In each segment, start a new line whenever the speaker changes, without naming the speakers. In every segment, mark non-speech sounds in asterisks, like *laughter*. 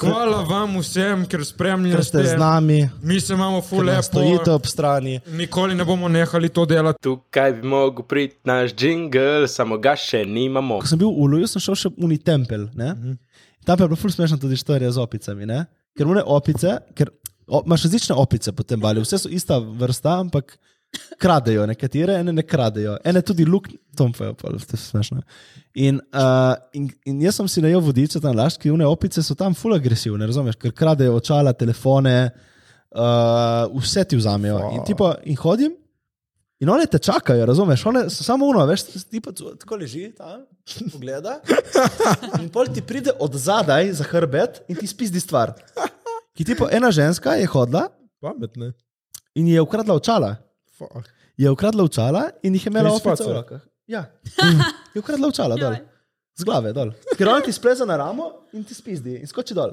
Hvala vam vsem, ker
ker ste z
spremljate.
nami,
Mi se imamo
ker
fule,
nam stojite ob strani.
nikoli ne bomo nehali to delati.
Tukaj bi mogel priti naš jingle, samo ga še nimamo.
Ko sem bil v Luju, sem šel še v Unitempel. Mm -hmm. Tam pa je bila ful smešna tudi štorija z opicami. Ne? Ker mune opice, ker o, imaš različne opice po tem valju, vse so ista vrsta, ampak kradejo, nekatere ene ne kradejo, ene tudi luk, tomfajo, pa to je smešno. In, uh, in, in jaz sem si najel vodiče tam laž, ki une opice so tam ful agresivne, razumeš, ker kradejo očala, telefone, uh, vse ti vzamejo. In, ti pa, in hodim. In one te čakajo, razumeš? One so samo uno, veš, ti pa tu- tako leži tam, pogleda. In pol ti pride od zadaj za hrbet in ti spizdi stvar. Ki ti pa ena ženska je hodila
Pametne.
in ji je ukradla očala.
Fuck.
Je ukradla očala in jih je imela
Iz
opice
faca.
v rokah. Ja, je ukradla očala dol,
Joj.
z glave dol. Ker ona ti spleza na ramo in ti spizdi in skoči dol.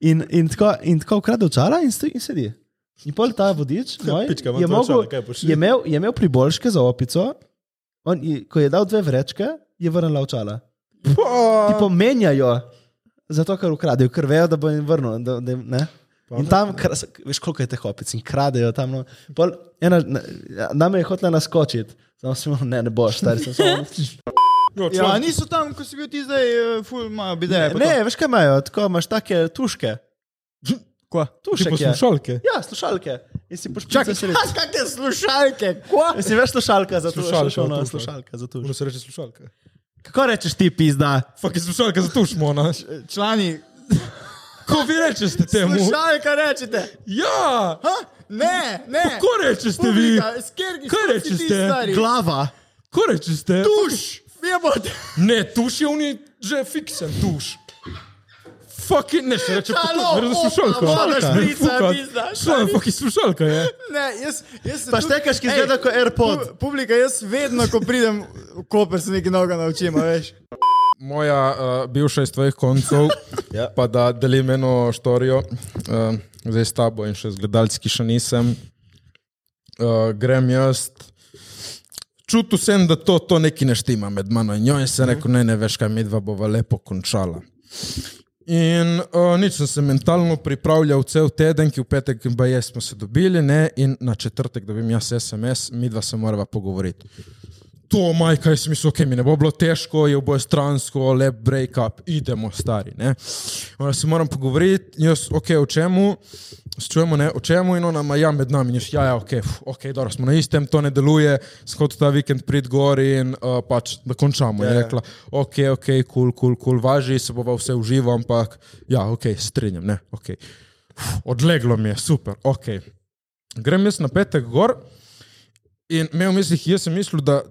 In, in, tako, in tako ukradla očala in, stoji in sedi. In pol ta *laughs* vodič moj,
Pička, ima
je,
to
mogel,
očala, kaj boš?
je, imel, je imel priboljške za opico, on, je, ko je dal dve vrečke, je vrnila očala. Ti pomenjajo, zato ker ukradejo, ker vejo, da bo jim vrnil. Da, da, jim- ne? In tam, kra, veš, koliko je teh opic in kradejo tam. No. Pol, ena, na, nam je hotela naskočiti, samo si rekel, ne, ne boš, stari sem *laughs* samo.
Ja, niso tam, ko si bil ti zdaj, eh, ful, imajo bideje. pa to.
Ne, veš kaj imajo, tako imaš take tuške.
Kva?
Tušek je.
Poslušalke.
Ja, slušalke. In si pošpicaš sredi.
*laughs* Kakšne slušalke, kva?
Si veš slušalka za tuš?
Slušalka,
Slušalka, no,
tuš, ja.
slušalka za tuš.
Ono se reče slušalka.
Kako rečeš ti, pizda?
Fak je slušalka, zato šmo na.
Eh,
Člani,
Ko vi rečete temu?
slušalka rečete.
Ja!
Ha? Ne, ne.
Ko rečete vi?
Publika, s kjer-
Kaj
s kjer si ti
rečete?
stari?
Glava.
Ko rečete?
Tuš, jebote.
Ne, tuš je oni že fiksen, tuš. Fucking ne, še reče,
Halo,
ne
opa,
razslušalka.
voda šprica,
Fukat.
pizda,
Šlo je fucking slušalka, je.
Ne, jaz, jaz se
Pa
tudi-
štekaš, ki
Ej,
zgleda kot AirPod.
pu- Publika, jaz vedno, ko pridem v Koper, se nekaj novega naučim, a veš.
moja uh, bivša iz tvojih
*laughs*
koncev, ja. pa da delim eno štorijo, uh, zdaj s tabo in še z gledalci, ki še nisem. Uh, grem jaz, čutil sem, da to, to nekaj ne štima med mano in njo, in sem rekel, ne, ne veš, kaj midva bova lepo končala. In uh, nič sem se mentalno pripravljal cel teden, ki v petek in baje smo se dobili, ne, in na četrtek dobim jaz SMS, midva se morava pogovoriti to, majka, je smisel, ki mi ne bo bilo težko, je obojestransko, le break up, idemo, stari. Ne? Ona se moram pogovoriti, jaz, ok, o čemu, se čujemo, ne, o čemu in ona, ma ja, med nami, jaz, ja, ja, ok, f, ok, dobro, smo na istem, to ne deluje, shod ta vikend prid gor in uh, pač, da končamo. Je rekla, ok, ok, kul, kul, kul, važi, se bova vse uživa, ampak ja, ok, strinjam, ne, ok. Uf, odleglo mi je, super, ok. Grem jaz na petek gor. In imel v mislih, jaz sem mislil, da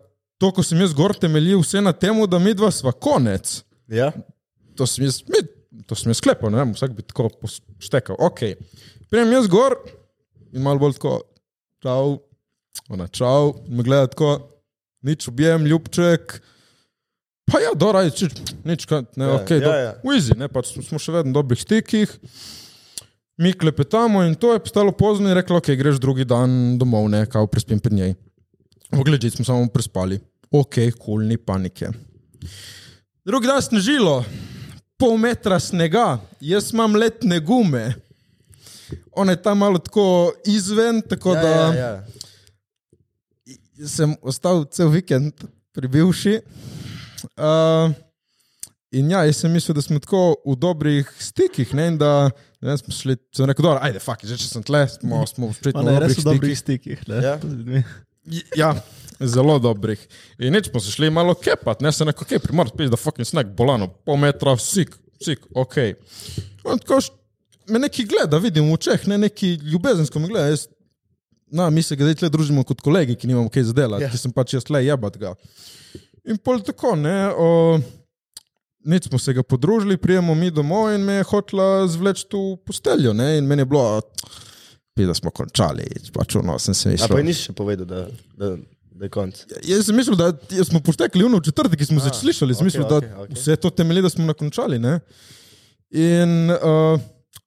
to, ko sem jaz gor temeljil, vse na tem, da mi dva sva konec.
Ja.
To sem jaz, mi, to sem jaz sklepal, ne vem, vsak bi tako poštekal. Ok, prijem jaz gor in malo bolj tako, čau, ona čau, me gleda tako, nič objem, ljubček. Pa ja, dobro, ajde, čič, nič, kaj, ne, ja, ok,
ja,
ja, do,
ja.
ja. v izi, ne, pač smo še vedno v dobrih stikih. Mi klepetamo in to je postalo pozno in rekla, ok, greš drugi dan domov, ne, kao prespim pri njej. Poglej, smo samo prespali. Ok, kul, cool, ni panike. Drugi dan snežilo, pol metra snega, jaz imam letne gume. Ona je tam malo tako izven, tako ja, da
Ja, ja, ja.
sem ostal cel vikend pri bivši. Uh, in ja, jaz sem mislil, da smo tako v dobrih stikih. Ne, in da, ne, vem, smo šli, sem rekel, dobro, ajde, fuck, it, že če sem tle, smo, smo spet
Pa
na
ne, res
dobrih
v dobrih stikih.
stikih.
ne,
Ja.
z ljudmi.
Ja, zelo dobrih. In nič smo se šli malo kepat, ne se neko kepri, okay, moraš piti, da fucking snack bolano, pol metra, sik, sik, ok. On tako, š- me neki gleda, vidim v očeh, ne neki ljubezensko me gleda. Jaz, na, mi se ga zdaj tle družimo kot kolegi, ki nimamo kaj zadela,
Ja.
yeah. ki sem pač jaz le jebat ga. In pol tako, ne. O, Nič smo se ga podružili, prijemo mi domov in me je hotla zvleči v posteljo. Ne? In meni je bilo, da smo končali, pač ono sem
A
se
pa
izšel.
ji nisi še povedal, da, da, da je konc.
Jaz sem mislil, da jaz smo poštekli uno v četrtek, ki smo se slišali, sem
okej,
mislil, da
okej, okej.
vse to temelji, da smo nakončali. Ne? In uh,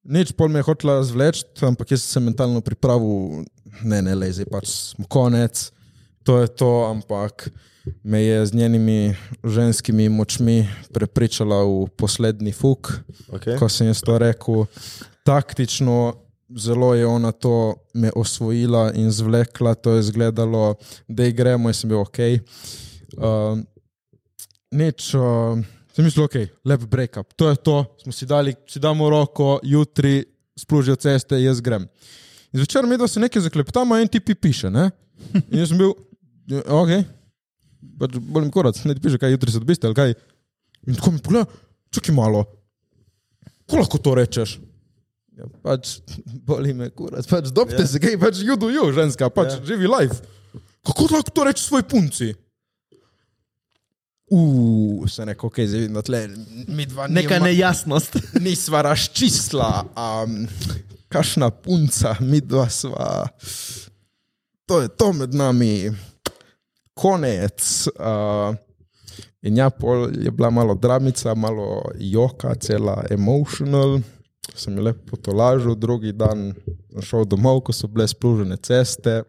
nič pol me je hotla zvleči, ampak jaz sem se mentalno pripravil, ne, ne, le zdaj pač smo konec, to je to, ampak me je z njenimi ženskimi močmi prepričala v poslednji fuk.
Okay.
Ko sem jaz to rekel, taktično zelo je ona to me osvojila in zvlekla, to je izgledalo, da gremo in sem bil ok. Uh, nič, uh, sem mislil, ok, lep break-up, to je to, smo si dali, si damo roko, jutri splužijo ceste, jaz grem. In zvečer mi da se nekaj zaklepetamo, en tipi piše, ne? In jaz sem bil, ja, ok, pač bolim korac, ne ti piše, kaj jutri se dobiste ali kaj. In tako mi pogleda, čakaj malo, ko lahko to rečeš? Ja, pač boli me kurat, pač dobite yeah. se, kaj pač you do you, ženska, pač yeah. živi life. Kako lahko to rečeš svoj punci? Uuu, se neko, ok, zdaj vidim, da tle, mi dva
Neka
nima-
nejasnost.
nisva razčisla, um, kašna punca, mi dva sva. To je to med nami, konec. Uh, in ja, pol je bila malo dramica, malo joka, cela emotional. Sem jo lepo potolažil, drugi dan sem šel domov, ko so bile splužene ceste.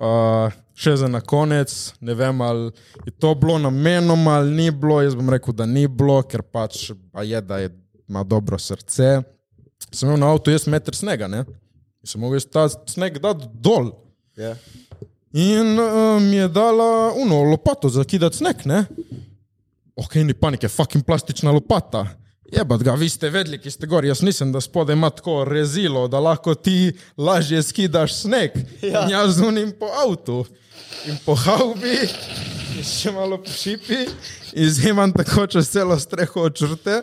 Uh, še za na konec, ne vem, ali je to bilo namenoma ali ni bilo. Jaz bom rekel, da ni bilo, ker pač a je, da je, ima dobro srce. Sem imel na avtu jaz meter snega, ne? In Sem mogel jaz ta sneg dati dol.
Ja.
In uh, mi je dala uno lopato za kidati sneg, ne? Ok, ni panike, fucking plastična lopata. Jebat ga, vi ste vedeli, ki ste gor. Jaz nisem, da spodaj ima tako rezilo, da lahko ti lažje skidaš sneg. Ja. In jaz zunim po avtu in po haubi, in še malo po šipi, izjemam tako čez celo streho od črte.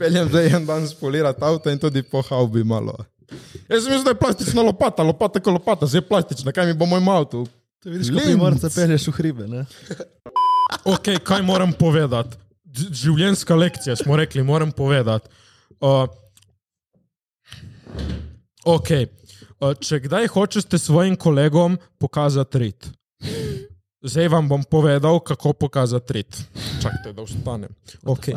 Peljem zdaj en dan spolirati avto in tudi po haubi malo. Jaz sem mislil, da je plastična lopata, lopata kot lopata, zdaj je plastična, kaj mi bo moj avto.
Vidiš,
ko primorca
pelješ v hribe. Ne?
Ok, kaj moram povedati? Dž- Življenjska lekcija smo rekli, moram povedati. Uh, ok, uh, če kdaj hočete svojim kolegom pokazati rit, zdaj vam bom povedal, kako pokazati rit. Čakajte, da vstanem. Okay.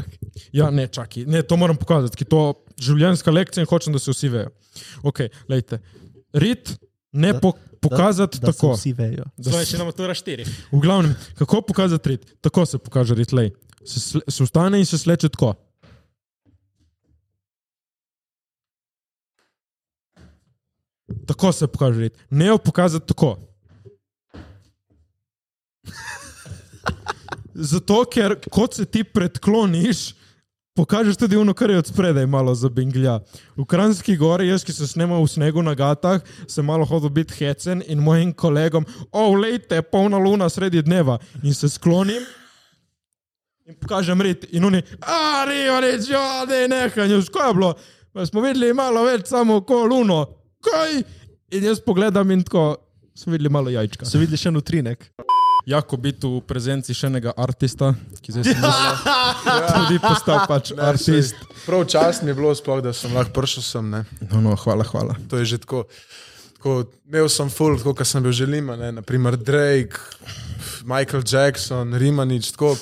Ja, ne, čakaj, ne, to moram pokazati, ki to življenjska lekcija in hočem, da se vsi vejo. Ok, lejte. Rit ne po, pokazati
Da se
tako.
vsi vejo.
Zdaj, če nam to raštiri. V glavnem, kako pokazati rit? Tako se pokaže rit, lej. Se, sle- se vstane in se sleče tako. Tako se pokaže rit. Ne jo pokazati tako. *laughs* Zato, ker kot se ti predkloniš, pokažeš tudi ono, kar je od spredaj malo zabinglja. V Kranjski gori, jaz, ki se snemal v snegu na gatah, sem malo hodil biti hecen in mojim kolegom, ovlejte, polna luna sredi dneva in se sklonim. In pokažem rit, in oni, arijo, rečijo, da je nekaj, ko je bilo. Pa smo videli malo več, samo ko luno, kaj. In jaz pogledam in tako, smo videli malo jajčka.
So videli še nutrinek.
Jako Ja, biti v prezenci še enega umetnika, ki *laughs* zdaj ja. tudi postal pač umetnik.
Prav čast mi je bilo, sploh, da sem lahko prišel sem. Ne.
No, no, hvala, hvala.
To je že tako. tako imel sem full, tako kot sem bil želim, naprimer Drake, Michael Jackson, Rimanič, tako.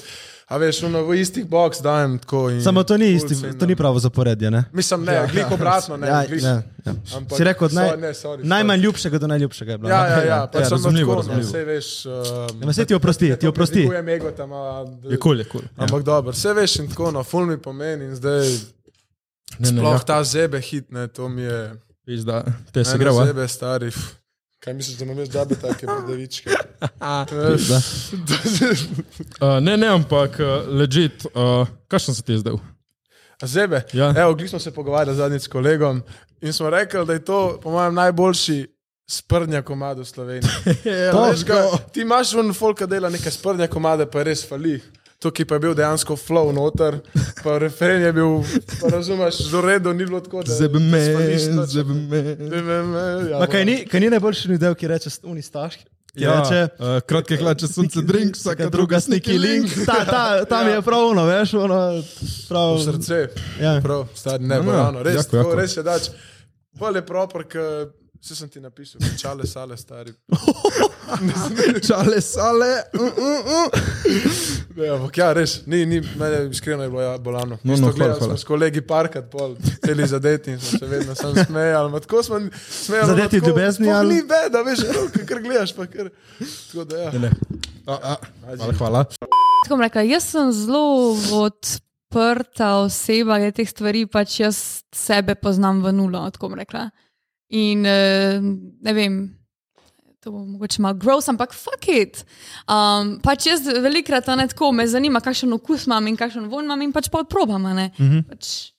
A veš, ono v istih box dajem tako. in
Samo to ni,
ful
isti,
cenim.
to ni pravo zaporedje. Ne?
Mislim, ne, ja, glih obratno, ne,
Ja,
glih,
ne, ja.
Ampak,
Si rekel, od naj,
so- ne, sorry, sorry.
najmanj ljubšega do najljubšega je bilo.
Ja,
ne?
ja, ja, pač ja,
razumljivo,
razumljivo,
razumljivo.
razumljivo. Vse veš.
Ja, ma saj ti oprosti, ti oprosti.
Je mego tam. a, da-
Je kul, je kul.
Ja.
Ampak dobro, vse veš in tako, no, ful mi pomeni in zdaj
Ne, ne,
sploh
ja,
ta zebe hit, ne, to mi je.
pizda, te se
Mene
greva.
Zebe stari. pf. Kaj misliš, da imam jaz dabe take
*laughs*
brdavičke? *laughs*
Uh, ne, ne, ampak uh, ležit, uh, kakšen si ti zdaj?
Zebe.
Ja.
Evo, glih smo se pogovarjali zadnjič s kolegom in smo rekli, da je to, po mojem, najboljši sprnja komado
*laughs*
Slovenije. Ja, veš,
no.
ka, ti imaš v folka dela neke sprnja komade, pa res fali. Tukaj pa je bil dejansko flow noter, pa referen je bil, pa razumeš, do redo ni bilo tako, da
Zebe me,
sfališ točno.
zebe me.
Zebe me, ja,
Ma, kaj, ni, kaj ni najboljši del, ki reče, oni staš, ki ja. reče,
uh, kratke hlače, sonce, drink, *laughs* vsaka druga sniki link.
Ta, ta, tam ja. je prav ono, veš, ono, prav,
v srce.
Ja.
Prav, stari, ne,
No, no,
no, no, res,
jako,
jako, tako,
jako.
res je dač. Pol je propor, ker Vse sem ti napisal, čale, sale, stari.
Čale, sale.
Ja, ampak ja, res, ni, ni, mene iskreno je bilo ja, bolano. No,
No, no,
no,
hvala,
gledali smo
hvala.
s kolegi parkrat, pol, celi zadeti in smo se vedno sam smejali. ma Tako smo smejali.
Zadeti
ma tako,
v ljubezni
sploh
ali-
Ni beda, veš, kar, kar gledaš, pa kar. Tako da ja.
Ne. A, a, hvala, hvala.
Tako bom rekla, jaz sem zelo odprta oseba, glede teh stvari, pač jaz sebe poznam v nulo, tako bom rekla. In eh, ne vem. To bo mogoče malo gross, ampak fuck it. Um, pač jaz velikrat a ne tako, me zanima, kakšen okus imam in kakšen von imam, in pač pa odprobam. a ne. Pač.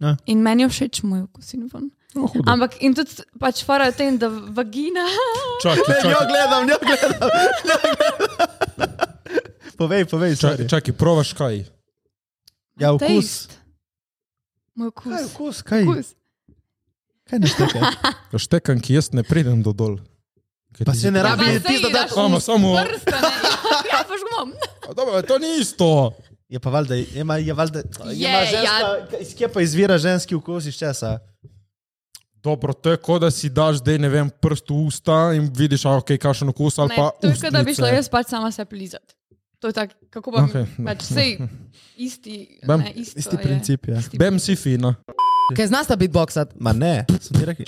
Mhm. Ja.
In meni je všeč moj okus in von.
No, hudo.
Ampak in tudi pač fara je v tem, da vagina.
Čakaj,
Jo
čakaj,
gledam, jo gledam. njo gledam. *laughs* povej, povej,
čakaj,
sorry.
čakaj provaš kaj?
Ja, okus.
Taste. Moj okus.
Kaj, okus, kaj?
okus.
Kaj ne šteka?
Štekam, ki jaz ne pridem do dol. Kaj
Pa
ti-
se ne rabi
Pa
ti,
sej
da
daš
daš.
v
Samo, samo-
prste, ne. *laughs* Ja, paš gumom.
A Dobro, to ni isto.
Je pa valjda, ima, je valjda, je,
Je,
ima ženska, ja. iz kje pa izvira ženski okus iz česa?
Dobro, to je kot da si daš, da ne vem, prst v usta in vidiš, a, ok, kakšen okus ali
Ne,
pa.
To je, kot da bi šla
ustnice.
jaz pač sama se plizat. To je tako, kako pa
Okej,
okay,
no.
pač sej isti,
Bam.
ne, isto
Isti
je.
princip je.
Bem si fina.
Ker znaš ta beatboxat?
Ma ne, sem ti rekel.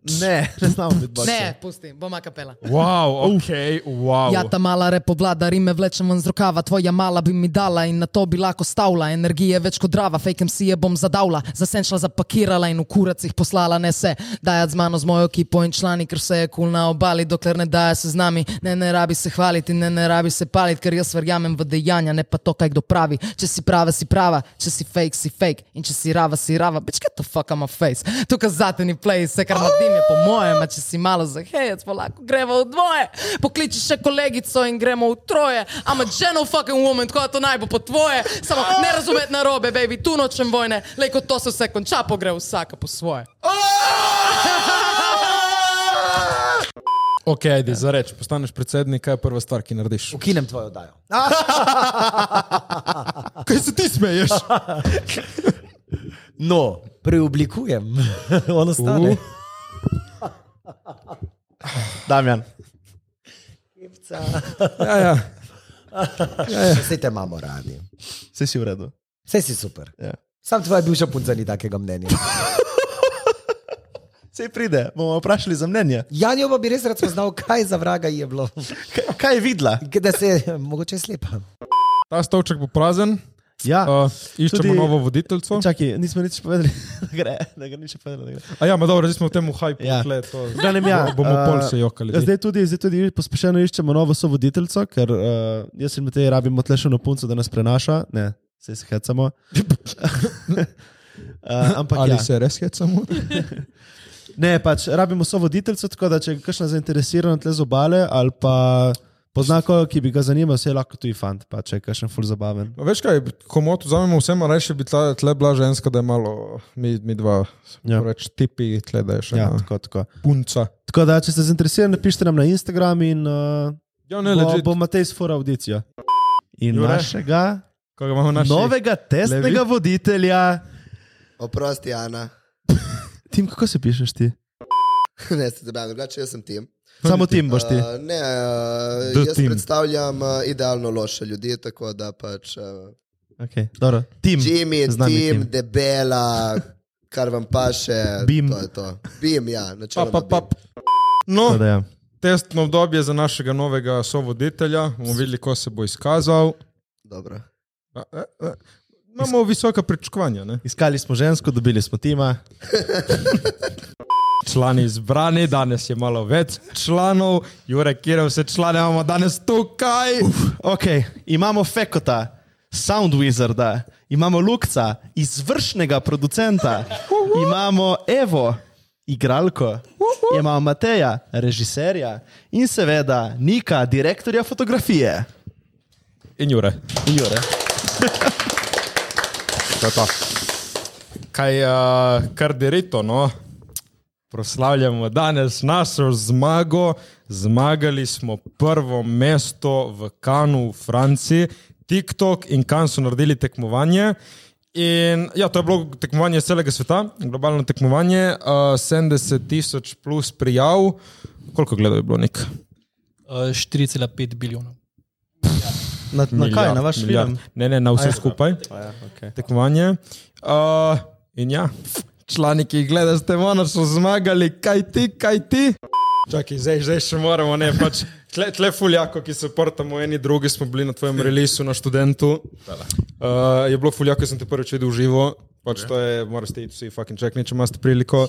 Ne, *laughs* ne znamo biti bogi.
Ne, pusti, bom akapela.
Wow, ok, wow.
Ja, ta mala repobla, rime vlečem ven z rokava, tvoja mala bi mi dala in na to bi lahko stavla. Energije več kot drava, fejkem si je bom zadavla, zasenčila, zapakirala in v kurac jih poslala, ne se. Dajat z mano z mojo ekipo in člani, ker se je kul na obali, dokler ne daje se z nami. Ne, ne rabi se hvaliti, ne, ne rabi se paliti, ker jaz verjamem v dejanja, ne pa to, kaj kdo pravi. Če si prava, si prava, če si fake, si fake in če si rava, si rava. Bitch, get the fuck on my face. Tukaj zateni play, vse kar naredim je po mojem, a če si malo zahejec, pa lahko gremo v dvoje. Pokliči še kolegico in gremo v troje. I'm a general fucking woman, tako da to naj bo po tvoje. Samo ne razumeti narobe, baby, tu nočem vojne, le kot to se vse konča, pogre vsaka po svoje.
Ok, ajde, za reč, postaneš predsednik, kaj je prva stvar, ki narediš?
Ukinem tvojo oddajo.
Kaj se ti smeješ?
No,
*laughs*
preoblikujem. *laughs* Ono stane.
U.
*laughs* Damjan.
*laughs* Ja, ja.
Vse Ja, te imamo radi.
Vse si v redu.
Vse si super. Ja. Sam tvoja bivša punca ni takega mnenja.
Vse pride, bomo vprašali za mnenje.
Janjo pa bi res rad spoznal, kaj za vraga ji je bilo.
Kaj, kaj je videla?
Da se je mogoče je slepa.
Ta stolček bo prazen,
Ja.
uh, iščemo
Tudi-
Tudi... novo voditeljco.
Čakaj, nismo nič povedali, *laughs* da gre, da gre nič povedali. da gre.
A ja, ma dobro, zdaj smo v tem hajpu.
Ja.
Ja. To...
Glavnem, ja,
Bomo
eh,
pol se jokali.
Zdaj tudi, zdaj tudi pospešeno iščemo novo sovoditeljico, ker uh, jaz in Matej rabimo tlešeno punco, da nas prenaša. Ne, se se hecamo. *laughs* uh, ampak
Ali
ja.
se res hecamo?
Ne, pač rabimo sovoditeljico, tako da če je kakšna zainteresirana tle z obale ali pa pozna koga, ki bi ga zanimal, se je lahko tudi fant, pa če je kakšen ful zabaven.
Ma Veš kaj, komod vzamemo vsem, reče bi tla, tle bila ženska, da je malo, mi, mi dva,
Ja.
ja. reč tipi, tle da je še
Ja,
ja.
tako, tako.
punca.
tako da, če ste zainteresirani, pišite nam na Instagram in uh,
Ja, ne,
bo,
leži.
bo Matej sfora audicijo. In
Jure?
našega
Koga imamo naš?
novega testnega
Levi?
voditelja.
Oprosti, Ana, *laughs*
Tim, kako se pišeš ti?
ne se zabavim, drugače jaz sem tim.
Samo tim boš ti.
Uh, ne, uh,
The
jaz
team.
team. predstavljam uh, idealno loše ljudi, tako da pač uh,
Okay, dobro. tim. Z
Jimmy,
nami
tim,
tim.
debela, kar vam paše.
Bim.
To je to. Bim, ja,
Pa,
načeloma.
pa, pa.
bim.
No,
Tako da ja.
testno obdobje za našega novega sovoditelja, bomo videli, ko se bo izkazal.
Dobro.
A, a, a. Imamo visoka pričakovanja. Ne?
Iskali smo žensko, dobili smo tima.
Člani izbrani, danes je malo več članov, Jurek, kjer vse člane imamo danes tukaj.
Okay, imamo Fekota, Sound Wizarda, imamo Lukca, izvršnega producenta, imamo Evo, igralko, imamo Mateja, režiserja in seveda Nika, direktorja fotografije.
In Jure.
In Jure.
To je to. Kaj, uh, kar derito, no? proslavljamo danes našo zmago. Zmagali smo prvo mesto v Kanu v Franciji, TikTok in kam so naredili tekmovanje. In ja, to je bilo tekmovanje iz celega sveta, globalno tekmovanje, uh, 70 tisoč plus prijav, koliko gledal je bilo nek?
Uh, 4,5 bilijonov.
Na, na kaj, na vaš
milijard.
film?
Ne, ne, na vse
Aja.
skupaj.
Aja, okej.
Tekmovanje. Uh, in ja, člani, ki jih gledaš, ste mono so zmagali, kaj ti, kaj ti. Čakaj, zdaj, zdaj še moramo, ne pač. Tle, tle fuljako, ki se portamo eni drugi, smo bili na tvojem releasu na študentu. Uh, je bilo fuljako, jaz sem te prvič videl v živo, pač to je, moraš te iti vsi fucking čekni, če imaš priliko.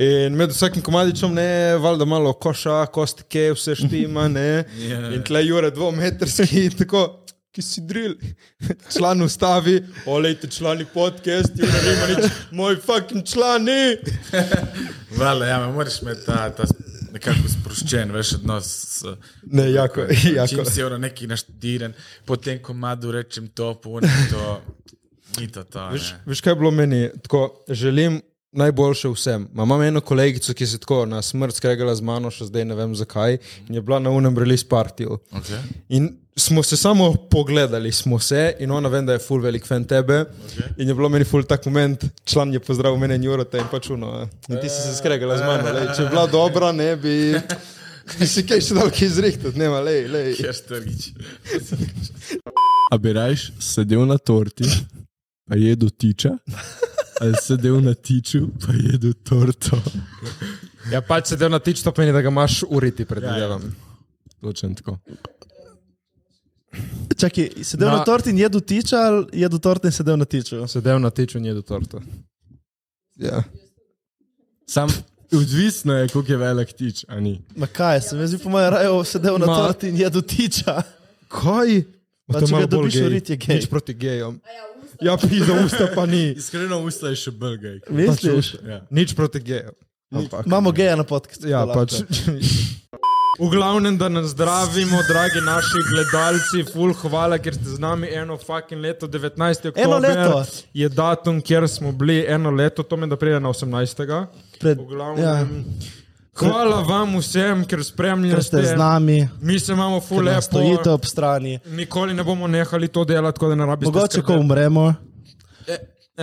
In med vsakim komadičem, ne, valjda malo koša, kostike, vse štima, *laughs* ne.
Ja.
In tle jure dvometrski, *laughs* tako, ki si dril, *laughs* član ustavi, olejte člani podcast, jure nima nič, moj fucking člani.
Vale, ja, me moraš imeti ta, ta nekako sproščen, veš, odnos. S,
Ne, jako, jako.
Če si evro neki naštudiran, po tem komadu rečem to, puno to. Ni to to.
Veš,
ne.
veš kaj je bilo meni? Tako, želim najboljše vsem. Ma, Imam eno kolegico, ki se je tako na smrt skregala z mano, še zdaj ne vem zakaj, in je bila na unem release partiju.
Okay.
In smo se samo pogledali, smo se, in ona vem, da je full velik fan tebe. Okay. In je bilo meni full tak moment, član je pozdravil mene in Jurota in pač uno. eh. In ti si se skregala z mano, lej. če bi bila dobra, ne bi. Ti si kaj še dal, ki izrihtati, nema, lej, lej.
Kjer strgič.
A bi rajš sedel na torti, pa jedel tiča, ali sedel na tiču, pa jedel torto.
Ja, pač se del na tič, to pomeni, da ga imaš uriti, predvidevam.
Točen Ja, tako.
Čakaj, sedel na,
No.
Na-
na torti in jedel tiča, ali jedel torte in sedel na tiču?
Sedel na tiču in jedel torto. Ja.
Sam odvisno je, koliko je velik tič, a ni.
Ma kaj, sem jaz bi po mojem raju sedel na
Ma-
torti in jedel tiča.
Kaj?
Pa če ga dobiš, urit je gej.
Nič proti gejom. Ja, pizda usta pa ni.
Iskreno, usta je še belgaj.
Misliš?
Ja.
Nič proti gejom. Ampak.
Imamo geja na podkastu.
Ja, pač. *laughs* V glavnem, da nas zdravimo, dragi naši gledalci, ful, hvala, ker ste z nami eno fucking leto, 19.
Eno
oktober
leto.
je datum, kjer smo bili eno leto, to me da pride na 18.
Pred-
V glavnem,
ja.
Hvala vam vsem, ker
Ker
spremljate.
ste z nami.
Mi se imamo ful
Ker nas
lepo.
stojite ob strani.
Nikoli ne bomo nehali to delati, tako da ne rabite
Mogoče, ko
skrbeti.
umremo. E,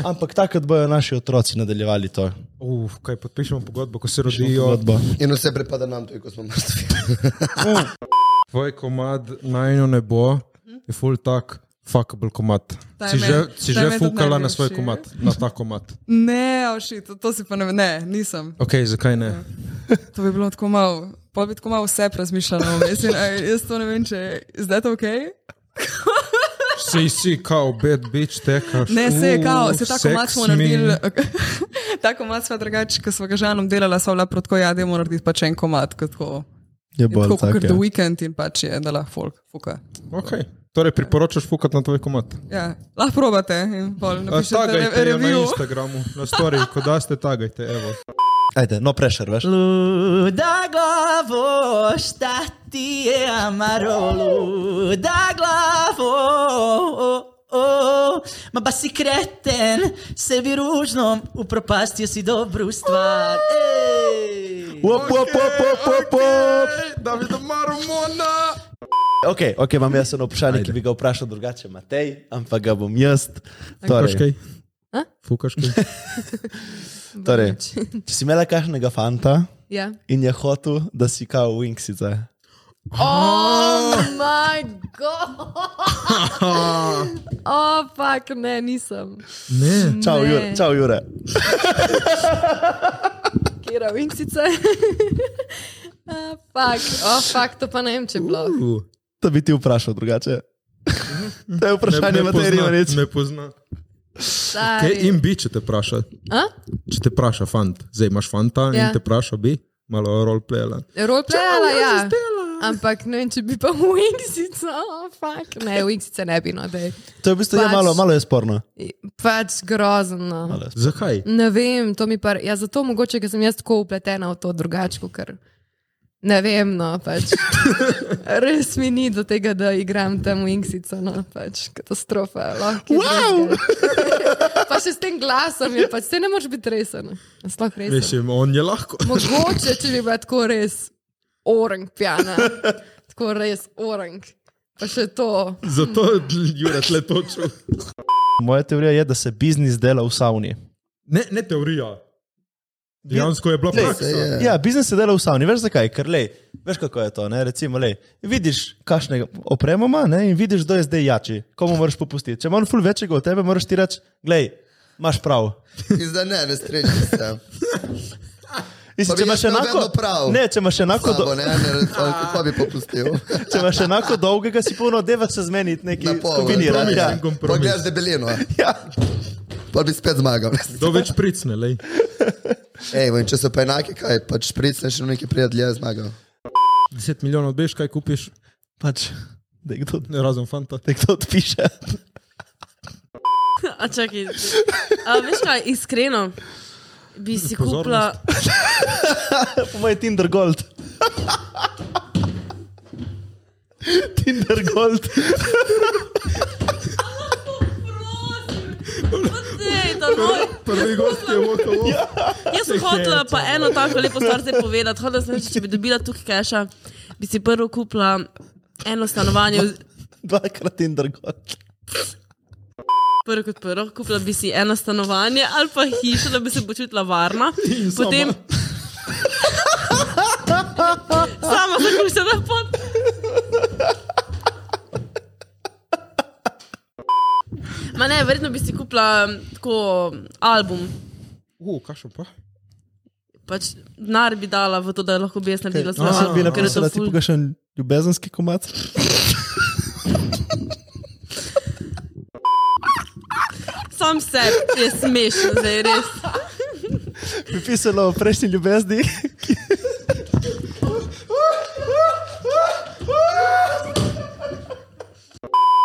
Ampak takrat bojo naši otroci nadaljevali to.
Uf, kaj podpišemo pogodbo, ko se
Pišemo
rodijo.
pogodbo.
In vse pripada nam, tudi ko smo mrtvi.
Tvoj komad najno ne bo, je full tak, fuckable komad.
Ta je
Si
meni-
že, si
ta je
že
meni tudi
fukala na
najljubši.
svoj komad, na ta komad.
Ne, ošit, to si pa ne, ne, nisem.
Ok, zakaj ne?
To bi bilo tako malo, pa bi tako malo vse razmišljalo. *laughs* Mislim, aj, jaz to ne vem, če je zdaj to ok.
Si si kao bad bitch tekaš.
Ne, se je
uh,
kao, se tako malo
seks
smo
mi.
naredili, *laughs* tako malo smo drugače, ko smo ga žanom delala, so bila protko, ja, da moramo narediti pač en komat, kot tako.
Je
In
bolj
tako
tak,
kot
ja.
The Weeknd in pač je, da lahko folk fuka.
Okej. Torej, priporočaš fukati na tvoj komad.
Ja, lahko probate in pol
A,
napišete re-
Tagajte jo na
review.
Instagramu, na story, ko daste, tagajte, evo.
Ajde, no prešer, veš.
Luda glavo, šta ti je amaro, luda glavo. o, o, Ma pa si kreten, sebi ružno, upropastio si dobru stvar.
Op, op, op, op, op, op.
Davida Maromona!
Ok, ok, imam jaz eno vprašanje, ki bi ga vprašal drugače, Matej, ampak ga bom jaz. Torej,
Fukaš kaj?
A?
Fukaš kaj?
torej, če si imela kakšnega fanta
Ja.
in je hotel, da si kao Winksice.
Oh, moj *laughs* bog! Opak, Oh, ne, nisem.
Ne. Čau,
Ne.
Jure. Čau, Jure.
Kira Winksice. *laughs* Fak, oh, fak, to pa ne vem, če je bilo.
To bi ti vprašal drugače. To je
Ne-
vprašanje
ne
Matej
pozna,
Rimanič.
Ne pozna.
Stari.
Kaj jim bi, če te vpraša?
A?
Če te vpraša fant, zdaj imaš fanta
Ja.
in te vpraša bi, malo roleplayla.
Roleplayala, ja. Ampak ne vem, če bi pa *laughs* Winksica, oh, fak. Ne, Winksice ne bi, no, dej.
To je v bistvu je
Pač-
malo, malo je sporno.
Pač grozno.
Malo je sporno.
Zakaj?
Ne vem, to mi pa. Ja, zato mogoče, ker sem jaz tako upletena v to drugače, ker ne vem, no
*laughs*
pač. Res mi ni do tega, da igram tam Winksico, no pač katastrofa. lahko je
Wow!
drugega. *laughs* pa še s tem glasom je pač, se ne moreš biti resen. a Sploh
Veš,
res.
on je lahko. *laughs*
Mogoče, če bi bila tako res orang pijana, tako res orang. Pa še to.
Zato Jure tle točil.
Moja teorija je, da se biznis dela v savni.
Ne, ne teorija. Dejansko je bila
Lej,
praksa.
Ja, biznis se dela v savni. Veš zakaj? Ker lej, veš kako je to. Ne? Recimo, lej, vidiš, kakšne opremo ima ne? in vidiš, kdo je zdaj jači, komu moraš popustiti. Če ima on ful večjega od tebe, moraš ti reči, glej, imaš prav.
In zdaj ne, ne streljaš se.
Mislim, če imaš enako,
prav.
ne, če imaš enako,
Slabo,
do,
ne, ne, ne, kako bi popustil.
če imaš enako dolgega, si polno deva se zmeniti, nekaj kombinirati. Ja.
Poglej, debelino. Ja. Pa bi spet zmagal.
Kdo več pricne, lej.
Ej, vem, če so pa enake, kaj, pač pricneš in nekaj prijatelja zmagal.
10 milijonov odbeš, kaj kupiš?
Pač, da je kdo.
Ne razum fanta.
Da kdo odpiše.
A čakaj. A, veš kaj, iskreno, bi si
Pozornost.
kupila.
po mojem Tinder Gold. Tinder Gold.
Ej, ta moj-
Prvi gost je votel.
Jaz sem hotela pa eno tako lepo stvar zdaj povedati. Hotela sem reči, če bi dobila tukaj keša, bi si prvo kupila eno stanovanje. v-
Dvakrat Tinder Gold.
Prvo kot prvo, kupila bi si eno stanovanje ali pa hišo, da bi se počutila
*laughs*
varna. Potem. Sama sem prišla na pot. Ma ne, verjetno bi si kupila um, tako album.
U, kakšen pa?
Pač denar bi dala v to, da lahko bi jaz naredila svoj
Mislim, No, bi
album. ker je to
napisala ti
ful-
pokašen ljubezenski komat.
Sam se je smešen, zdaj res.
Bi pisalo o prejšnji ljubezni.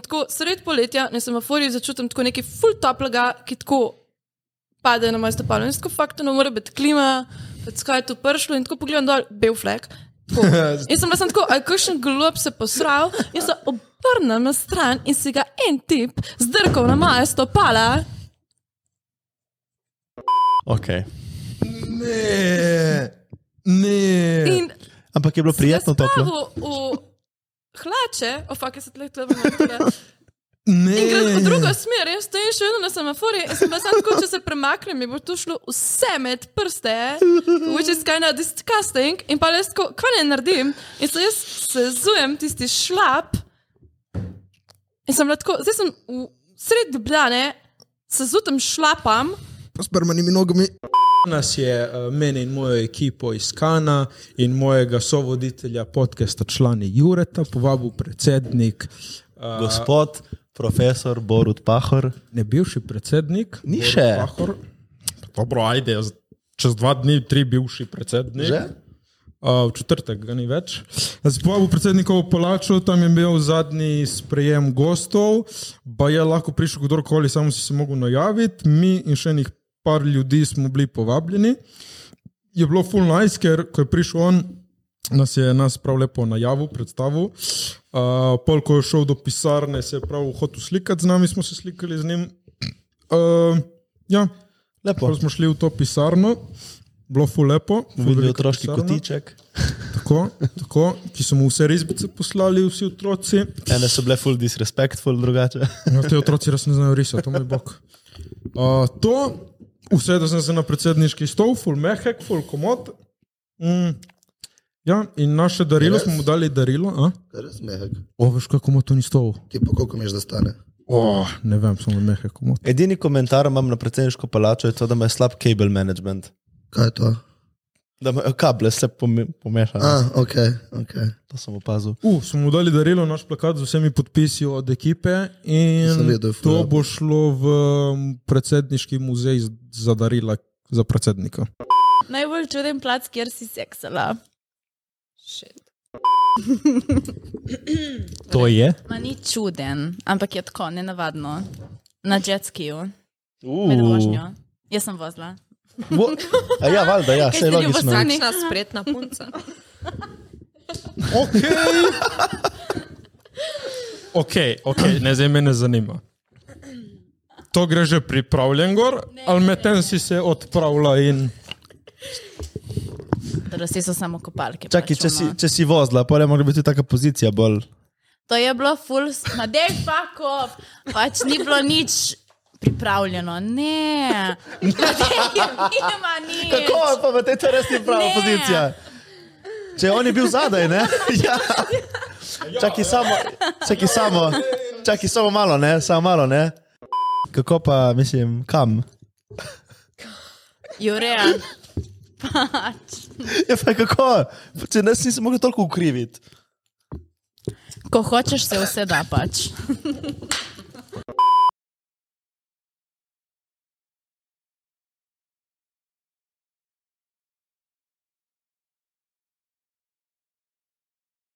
Tako sred poletja na semaforju začutim tako nekaj full toplega, ki tako pade na moje stopalo. In tako fakto ne more biti klima, pač kaj je tu prišlo in tako pogledam dol, bel flek. Tako. In sem bila sem tako, aj kakšen glob se posral in se obrnem na stran in si ga en tip zdrkal na moje stopala.
Okay.
Ne, ne.
In
Ampak je bilo prijetno toplo.
Pravo v hlače, ofak, jaz se tleh tleh vrnem.
Ne.
In gre v drugo smer, jaz stojim še vedno na semaforju in sem bila samo tako, če se premaknem, mi bo to šlo vse med prste, which is kind of disgusting. In pa jaz tako, kaj naj naredim? In se jaz sezujem tisti šlap. In sem bila tako, zdaj sem v sredi Ljubljane, sezutem šlapam.
S permanimi nogami. Nas je uh, mene in mojo ekipo iz Kana in mojega sovoditelja podcasta člani Jureta povabil predsednik. Uh,
Gospod profesor Borut Pahor.
Ne bivši predsednik.
Ni
Borut
še.
Pahor. Dobro, ajde, jaz- čez dva dni, tri bivši predsednik.
Že?
Uh, v četrtek ga ni več. Jaz sem povabil predsednikovo palačo, tam je bil zadnji sprejem gostov, pa je lahko prišel kdorkoli, samo si se mogel najaviti. Mi in še enih par ljudi smo bili povabljeni. Je bilo full nice, ker ko je prišel on, nas je nas prav lepo najavil, predstavil. Uh, pol, ko je šel do pisarne, se je prav hotel slikati z nami, smo se slikali z njim. Uh, ja,
lepo.
Pol smo šli v to pisarno, bilo fu lepo. ful
Videli
velika
otroški
pisarna.
no?
kotiček.
Tako, tako, ki so mu vse risbice poslali, vsi otroci.
Ene so bile full disrespectful, drugače.
No, te otroci res ne znajo risati, to moj bog. Uh, to, vse, da sem se na predsedniški stol, full mehek, full komod. Mm. Ja, in naše darilo
Res?
smo mu dali darilo. A?
Res mehek.
O, veš, kako mu to ni stol.
Ti pa koliko meš, da stane?
O, ne vem, samo mehek komod.
Edini komentar imam na predsedniško palačo je to, da ima slab kabel management.
Kaj je to?
Da imajo kable se pome- pomešane.
A, ok, ok.
To sem opazil.
Uh, smo mu dali darilo, naš plakat z vsemi podpisi od ekipe. In
Sem vedel, ful,
to
ja.
bo šlo v um, predsedniški muzej z- za darila za predsednika.
Najbolj čuden plac, kjer si seksala. Shit.
To je?
Ma ni čuden, ampak je tako nenavadno. Na jetskiju.
Uh.
Med vožnjo. Jaz sem vozila.
Vo- A ja, valjda, ja,
Kaj
saj
ste
logično.
ljubosumna,
spretna punca.
Ok, ok, okay ne, zdaj me ne zanima. To gre že pripravljen gor, ali medtem si se odpravlja in.
Torej, vsi so samo kopalke.
Čakaj,
pač,
če si,
ono.
če si vozila, pa je morala biti taka pozicija bolj.
To je bilo full, s- ma dej pa kop, pač ni bilo nič pripravljeno.
*laughs*
Ne, nima nič.
Kako je pa v tej terasni prava
Ne.
pozicija? Če on je bil zadaj, ne? *laughs* Ja. Čakaj samo, čakaj samo, čakaj samo malo, ne? Samo malo, ne? Kako pa, mislim, kam? *laughs*
Jureja. Pač.
Ja, pa kako? Če nas nisem mogel toliko ukriviti.
Ko hočeš, se vse da pač.